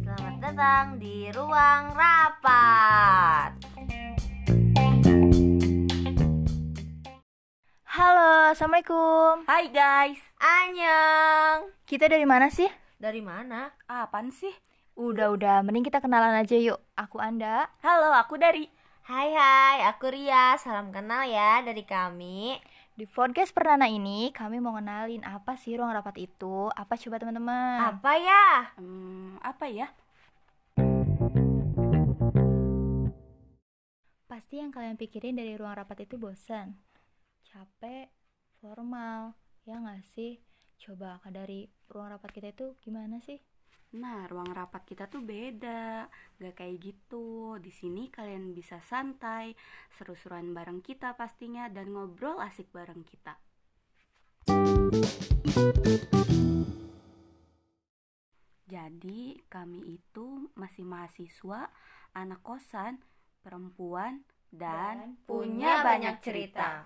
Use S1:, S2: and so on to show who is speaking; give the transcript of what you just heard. S1: Selamat datang di ruang rapat.
S2: Halo, assalamualaikum.
S1: Hai guys, Anyang.
S2: Kita dari mana sih?
S1: Dari mana?
S3: Apaan sih?
S2: Udah-udah, mending kita kenalan aja yuk. Aku Anda.
S3: Halo, aku dari
S1: Hai hai, aku Ria. Salam kenal ya dari kami.
S2: Di podcast perdana ini, kami mau kenalin apa sih ruang rapat itu? Apa coba teman-teman?
S1: Apa ya?
S3: Hmm, apa ya?
S2: Pasti yang kalian pikirin dari ruang rapat itu bosan, capek, formal, ya nggak sih? Coba kalau dari ruang rapat kita itu gimana sih?
S3: Nah, ruang rapat kita tuh beda, gak kayak gitu. Di sini kalian bisa santai, seru-seruan bareng kita pastinya, dan ngobrol asik bareng kita. Jadi, kami itu masih mahasiswa, anak kosan, perempuan, dan,
S1: Punya banyak cerita.